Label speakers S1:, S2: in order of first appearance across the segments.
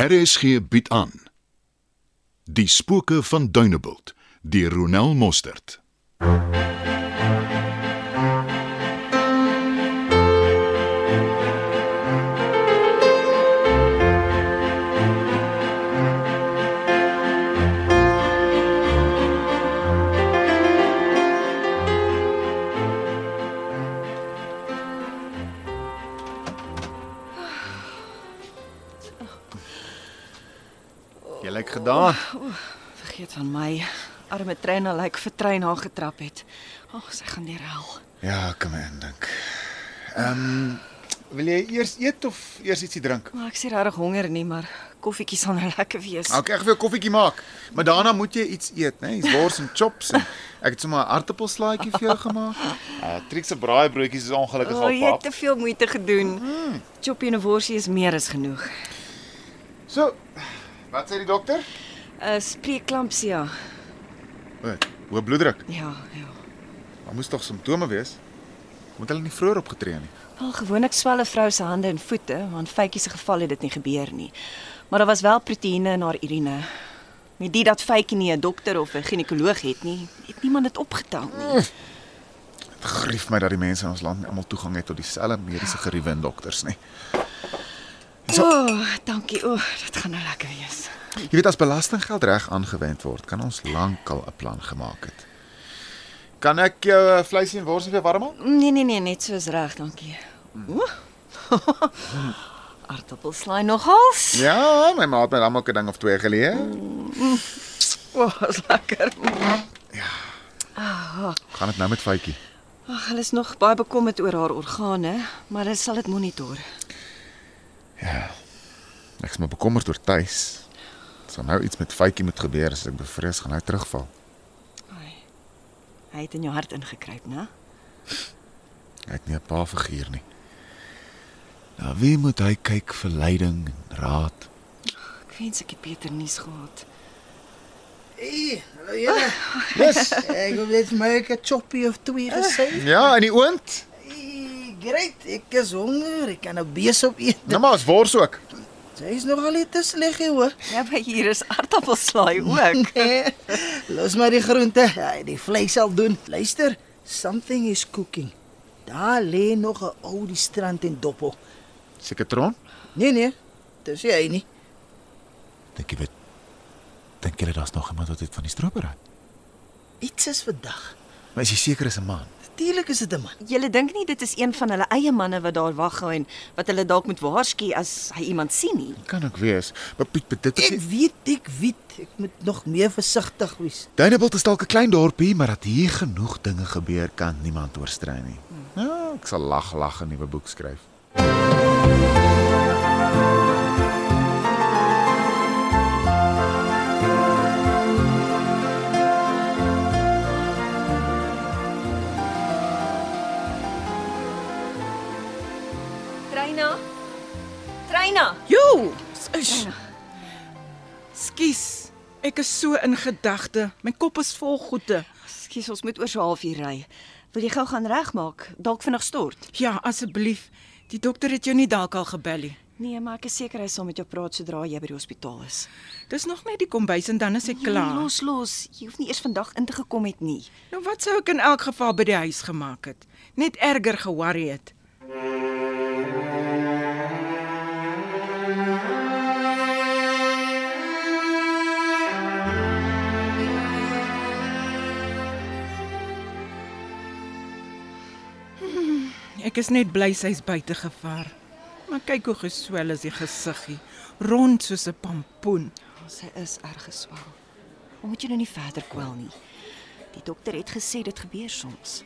S1: RSG bied aan Die spooke van Dunebuld deur Ronel Mostert.
S2: Jy lyk gedaan.
S3: Vergeet van my. Arme Trina lyk like vir Trina haar getrap het. Ag, oh, sy gaan deur hel.
S2: Ja, kom in dink. Ehm, wil jy eers eet of eers ietsie drink?
S3: Maar ek sien regtig honger nie, maar koffietjie sal nou lekker wees.
S2: Nou, ek gaan vir jou koffietjie maak, maar daarna moet jy iets eet, né? Nee? Dis wors en chops en ek het sommer 'n aartappelslaaitjie vir jou gemaak. Uh, Trix se braaibroodjies is ongelukkig
S3: oh, jy het te veel moeite gedoen. Mm. Choppie en 'n worsie is meer as genoeg.
S2: So, wat sê die dokter?
S3: 'n uh, Spreeklampsia.
S2: O, hoë bloeddruk.
S3: Ja, ja.
S2: Daar moes tog simptome wees. Moet hulle nie vroeër opgetree nie.
S3: Wel gewoonlik swel 'n vrou se hande en voete, want Faitjie se geval het dit nie gebeur nie. Maar daar was wel proteïene in haar urine. Met dit dat Faitjie nie 'n dokter of 'n ginekoloog het nie, het niemand dit opgetel nie.
S2: Dit grief my dat die mense in ons land nie almal toegang het tot dieselfde mediese geriewe en dokters nie.
S3: O, oh, dankie. O, oh, dit gaan nou lekker wees.
S2: Jy weet as belastinggeld reg aangewend word, kan ons lankal 'n plan gemaak het. Kan ek jou eh, vleisie en worsie weer warm maak?
S3: Nee, nee, nee, net soos reg, dankie. Ooh. Aartappelslaai nogals.
S2: Ja, my ma het my dan ook 'n ding of twee geleë.
S3: O, oh, is lekker.
S2: Gaan dit nou met Faitjie?
S3: Ag, hulle is nog baie bekommerd oor haar organe, maar hulle sal dit monitor.
S2: Ek's maar bekommerd oor Tuis. Sal nou iets met Faitjie moet gebeur as ek bevrees gaan hy terugval.
S3: Ai. Hy het in jou hart ingekruip, né?
S2: Hy het nie 'n pa figuur nie. Na wie moet hy kyk vir leiding en raad?
S3: Ek wens ek het beter nuus gehad.
S4: Hey, hallo julle.
S2: Yes.
S4: Ek hoop dit my ek 'n choppie of twee gesê.
S2: Ja, in die oond.
S4: Hey, great, ek is honger. Ek kan 'n bees op eet.
S2: Nou maar, is wors ook.
S4: Sy is nogal net te sleg hier hoor.
S3: Ja, by hier is aartappelslaai ook.
S4: Los maar die groente. Hy die vleis sal doen. Luister, something is cooking. Daar lê nog 'n ou die strand en doppel.
S2: Sekatron?
S4: Nee nee, dis nie hy nie.
S2: Dink jy weet Dink jy daar's nog iemand wat dit van die stropery?
S4: Iets is vandag.
S2: Maar is jy seker is 'n man?
S4: Natuurlik is dit 'n man.
S3: Julle dink nie dit is een van hulle eie manne wat daar waghou en wat hulle dalk moet waarsku as hy iemand sien nie.
S2: Kan ook wees. Maar Piet, maar dit
S4: Ek weet, ek weet, ek moet nog meer versigtig wees.
S2: Dunebuld is dalk 'n klein dorpie, maar dat hier genoeg dinge gebeur kan niemand oorstrei nie. Ja, ek sal lag lag 'n nuwe boek skryf.
S3: Treina. Treina.
S5: Jo, skus. Skus. Ek is so in gedagte. My kop is vol goede.
S3: Ekskuus, ons moet oor so 'n halfuur ry. Wil jy gou gaan regmaak? Dalk vinnig stort.
S5: Ja, asseblief. Die dokter het jou nie dalk al gebel nie.
S3: Nee, maar ek is seker hy sal met jou praat sodra jy by die hospitaal is.
S5: Dis nog net die kombuis en dan is ek klaar.
S3: Ja, Los los. Jy hoef nie eers vandag in te gekom het nie.
S5: Nou wat sou ek in elk geval by die huis gemaak het? Net erger ge-worry het. Hmm, Ek is net bly sy's buite gevaar. Maar kyk hoe geswel is die gesiggie, rond soos 'n pampoen.
S3: Sy is erg geswel. Ons moet jou nou nie verder kwel nie. Die dokter het gesê dit gebeur soms.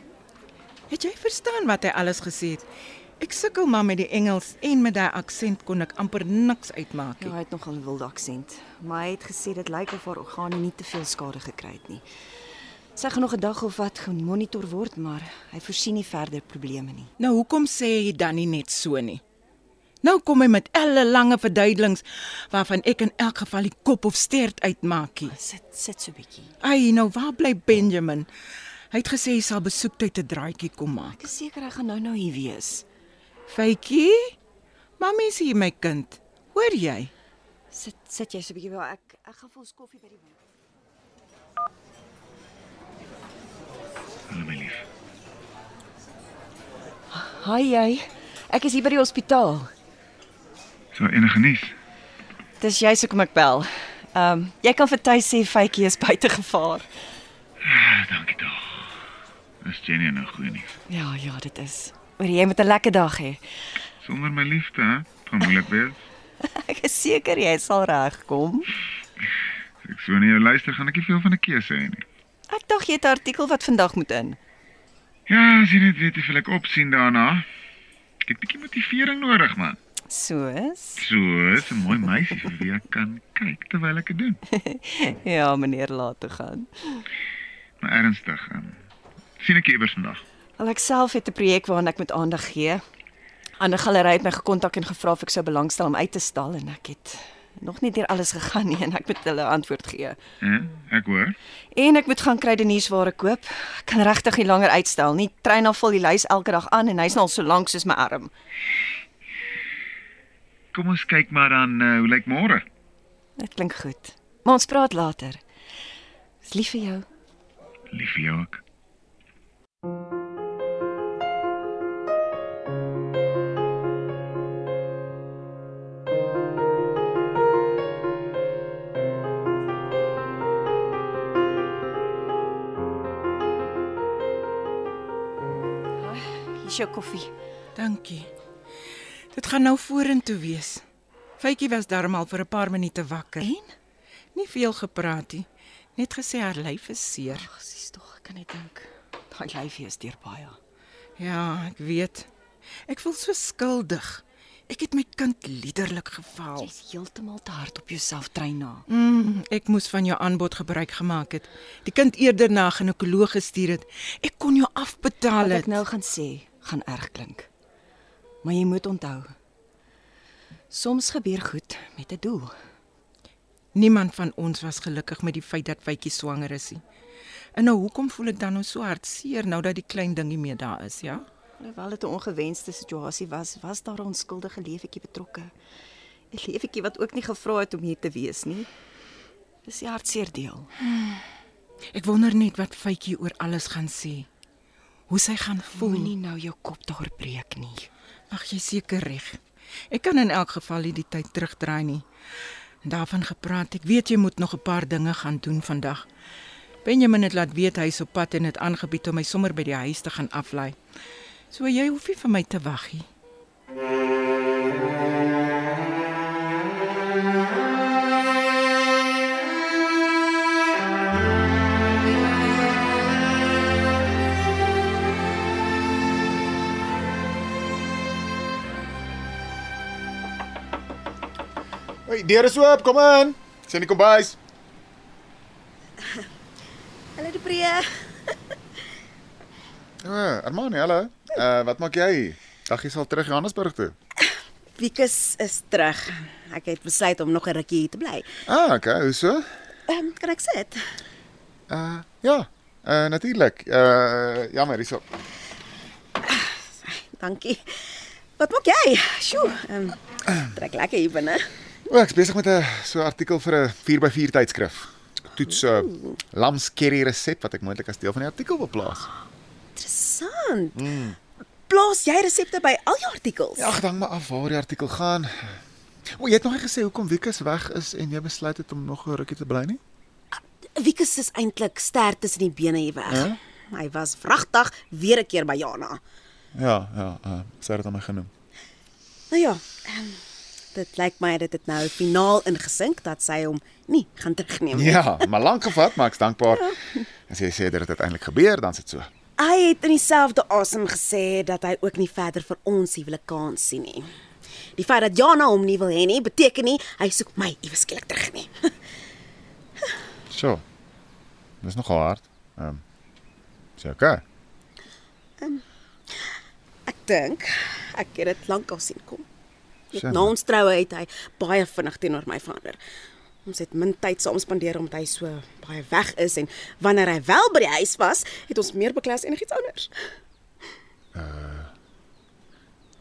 S5: Het jy verstaan wat hy alles gesê het? Ek sukkel maar met die Engels en met daai aksent kon ek amper niks uitmaak
S3: Ja,
S5: nie.
S3: hy het nogal 'n wilde aksent, maar hy het gesê dit lyk of haar organe nie te veel skade gekry het nie. Sy gaan nog 'n dag of wat gemonitor word, maar hy voorsien nie verder probleme nie.
S5: Nou hoekom sê hy dan nie net so nie? Nou kom hy met elle lange verduidelikings waarvan ek in elk geval die kop of stert uitmaakie.
S3: Sit sit so 'n bietjie.
S5: Ai, nou waar bly Benjamin? Hy het gesê hy sal besoektyd 'n draaitjie kom maak.
S3: Ek is seker hy gaan nou nou hier wees.
S5: Faitjie? Mamy is hier my kind. Hoor jy?
S3: Sit sit jy so 'n bietjie by ek ek gaan vir ons koffie by die winkel.
S6: Hallo my lief.
S3: Hi jy. Ek is hier by die hospitaal.
S6: So enige nuus?
S3: Dis jy hoekom ek bel. Ehm um, jy kan vir Tuis sê Faitjie is buite gevaar.
S6: Ah, dankie tog. Is Jenny nou goed nie?
S3: Ja, ja, dit is. Maar jy moet 'n lekker dag hê.
S6: Sonder my liefde, hè? Gaan moeilik wees.
S3: Ek is seker jy sal regkom.
S6: As ek so na jou luister, gaan ek nie veel van 'n keuse hê nie.
S3: Ek dink jy het 'n artikel wat vandag moet in.
S6: Ja, as jy net weet hoeveel ek opsien daarna. Ek het bietjie motivering nodig, man.
S3: Soos?
S6: So, is 'n mooi meisie vir wie ek kan kyk terwyl ek dit doen.
S3: Ja, meneer laat toe gaan.
S6: Maar ernstig, um, sien ek jou iewers vandag.
S3: Al ek self het 'n projek waaraan ek moet aandag gee. Ander galery het my gekontak en gevra of ek sou belangstel om uit te stal en ek het nog nie deur alles gegaan nie en ek moet hulle antwoord gee.
S6: Hè? Ek hoor.
S3: En ek moet gaan kruideniersware koop. Ek kan regtig nie langer uitstel nie. Treina vul die lys elke dag aan en hy's nou al so lank soos my arm.
S6: Kom ons kyk maar dan uh, hoe lyk môre.
S3: Dit klink goed. Maar ons praat later. Dis lief vir jou.
S6: Lief vir jou ook.
S3: Hier is jou koffie.
S5: Dankie. Dit gaan nou vorentoe wees. Faitjie was darmal vir 'n paar minute wakker.
S3: En?
S5: Nie veel gepraat nie. Net gesê haar lyf is seer.
S3: Ag, sies tog, ek kan nie dink. Daai lyfie is deur baie.
S5: Ja, ek weet. Ek voel so skuldig. Ek het my kind liderlik gefaal.
S3: Jy's heeltemal te hard op jouself, Treina.
S5: Mm, ek moes van jou aanbod gebruik gemaak het. Die kind eerder na 'n ginekoloog gestuur het. Ek kon jou afbetaal
S3: Wat
S5: het.
S3: ek nou gaan sê, gaan erg klink. Maar jy moet onthou. Soms gebeur goed met 'n doel.
S5: Niemand van ons was gelukkig met die feit dat Wytjie swanger is nie. En nou hoekom voel ek dan nou so hartseer nou dat die klein dingie meer daar is, ja?
S3: Alhoewel dit 'n ongewenste situasie was, was daar 'n onskuldige lewetjie betrokke. 'n Lewetjie wat ook nie gevra het om hier te wees nie. Dis die hartseer deel.
S5: Ek wonder net wat Faitjie oor alles gaan sê. Hoe sy gaan
S7: Hmm.
S5: voel.
S3: Moenie nou jou kop daar breek nie.
S5: Ag, jy is seker reg. Ek kan in elk geval nie die tyd terugdraai nie. En Daarvan gepraat. Ek weet jy moet nog 'n paar dinge gaan doen vandag. Benjamin het laat weet hy is op pad en het aangebied om my sommer by die huis te gaan aflaai. So jy hoef nie vir my te wag nie.
S2: Hey, deur is oop, kom in. Sien die kombuis.
S7: Hallo Depree.
S2: O, oh, Armani, hallo. Uh, wat maak jy? Dag jy sal terug Johannesburg toe.
S7: Wikus is terug. Ek het besluit om nog 'n rukkie hier te bly.
S2: Ah, okay, hoe so?
S7: Ehm um, kan ek sit?
S2: Uh, ja. Uh, natuurlik. Uh, jammer, hierso.
S7: Dankie. Wat maak jy? Sjoe. Ehm um, trek lekker hier binne.
S2: O, ek's besig met 'n so 'n artikel vir 'n 4x4 tydskrif. Toets uh, lamskerry resep wat ek moontlik as deel van die artikel wil plaas.
S7: Interessant. Mm. Plaas jy resepte by al jou artikels?
S2: Ja, dank maar af waar die artikel gaan. O, jy het nog nie gesê hoekom Wikus weg is en jy besluit het om nog 'n rukkie te bly nie?
S7: Wikus is eintlik ster tussen die bene hier weg.
S2: Hè?
S7: Hy was vragtig weer 'n keer by Jana.
S2: Ja, ja, uh, sy het dit aan my genoem.
S7: Nou ja, ehm um, dit lyk my dit het nou finaal ingesink dat sy hom nie gaan terugneem nie.
S2: Ja, maar lank gevat, maar ek's dankbaar. As jy sê dat dit uiteindelik gebeur, dan is dit so.
S7: Hy het in dieselfde asem gesê dat hy ook nie verder vir ons huwelik kans sien nie. Die feit dat Jana hom nie wil hê nie, beteken nie hy soek my iewes skielik terug nie.
S2: So. Dis nogal hard. Ehm. Um, Seker. Okay.
S7: Ek dink ek het dit lankal sien kom. Net
S2: Sjoe.
S7: na ons troue het hy baie vinnig teenoor my verander. Ons het min tyd saam spandeer omdat hy so baie weg is en wanneer hy wel by die huis was, het ons meer beklei as enigiets anders.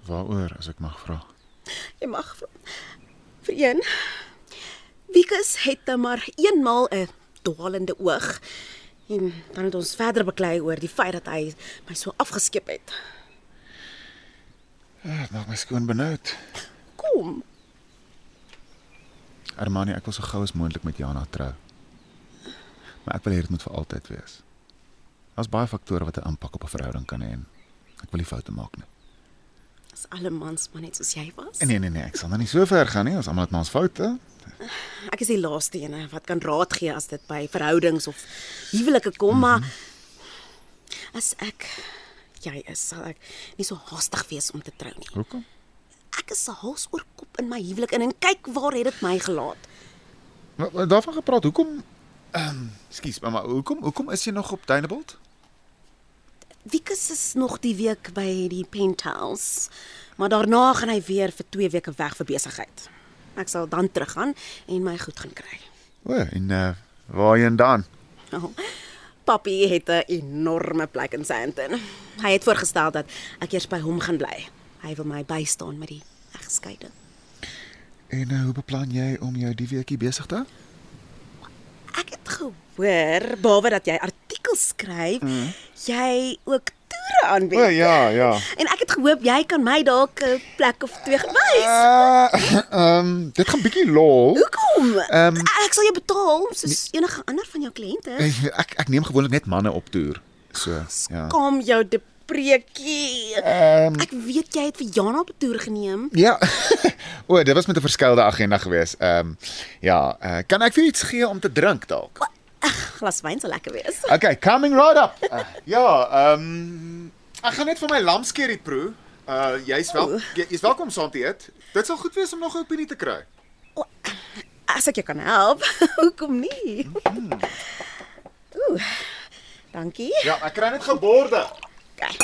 S2: Waaroor as ek mag vra?
S7: Jy mag vir een Marcus het eh, maar eenmaal 'n dwalende oog en dan het ons verder beklei oor die feit dat hy my so afgeskep het.
S2: Dit Ja, maak my skoon benoud.
S7: Kom,
S2: Armani, ek wil so gou as moontlik met Jana trou. Maar ek wil hê dit moet vir altyd wees. Daar's baie faktore wat 'n impak op 'n verhouding kan hê. en Ek wil nie foute maak nie.
S7: as alle mans maar net soos jy was.
S2: Nee nee nee, ek sal nou nie so ver gaan nie. Ons almal het maar ons foute.
S7: Ek is die laaste een wat kan raad gee as dit by verhoudings of huwelike kom, maar as ek jy is, sal ek nie so haastig wees om te trou nie.
S2: Hoekom?
S7: Ek is se hals oor kop in my huwelik in en kyk waar het dit my gelaat.
S2: Maar- maar Daarvan gepraat, hoekom ehm skus, maar hoekom hoekom is jy nog op Dunebuld?
S7: Wiekus is nog die week by die penthouse, maar daarna gaan hy weer vir 2 weke weg vir besigheid. Ek sal dan teruggaan en my goed gaan kry.
S2: O, en uh, waarheen dan?
S7: Oh, papi het 'n enorme plek in Sandton. Hy het voorgestel dat ek eers by hom gaan bly. Hy wil my bystaan met die egskeiding.
S2: En uh, hoe beplan jy om jou die weekie besig te hou?
S7: Ek het gehoor, behalwe dat jy artikels skryf, mm. jy ook toere aanbied.
S2: Mhm. ja, ja.
S7: En ek het gehoop jy kan my dalk 'n plek of twee gewys. Uh,
S2: Ehm uh, um, dit gaan bietjie lol.
S7: Hoekom?
S2: Ehm, Eh,
S7: Um, ek sal jou betaal soos enige ander van jou kliënte.
S2: Ek ek neem gewoonlik net manne op toer. So, ja.
S7: Kom jou depreekie.
S2: Ehm
S7: Ek weet jy het vir Jana op 'n toer geneem.
S2: ja. o, dit was met 'n verskeie agenda gewees. Ehm um, ja, uh, kan ek vir jou iets gee om te drink dalk?
S7: Glas wyn sal lekker wees.
S2: Okay, coming right up. Uh, ja, ehm um, ek gaan net vir my lamskerrie proe. Uh jy's wel jy- jy's welkom saam te eet. Dit sal goed wees om nog 'n opinie te kry.
S7: O, As ek jou kan help, hoekom nie? Ooh. Dankie.
S2: Ja, ek kry net geborde. Eh,
S7: Okay.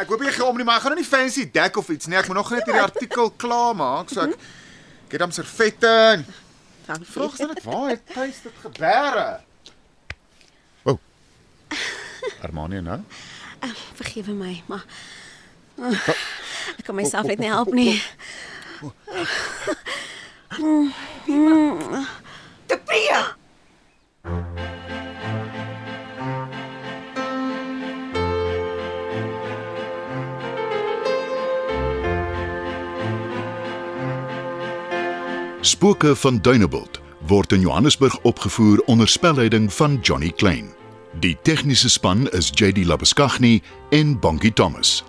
S2: Ek hoop jy gee om nie, maar ek gaan nou nie fancy dek of iets nie. Ek moet nog net hierdie artikel klaarmaak, so ek ek het hom servette en
S7: Dankie.
S2: Vroeg is dit waar het tuis dit gebeure? O. Oh. Armani nou?
S7: Vergewe my, maar Ah, ek kan myself net nie help nie. Mm,
S1: Spooke van Dunebuld word in Johannesburg opgevoer onder spelleiding van Johnny Klein. Die tegniese span is JD Labuskaghni en Bongie Thomas.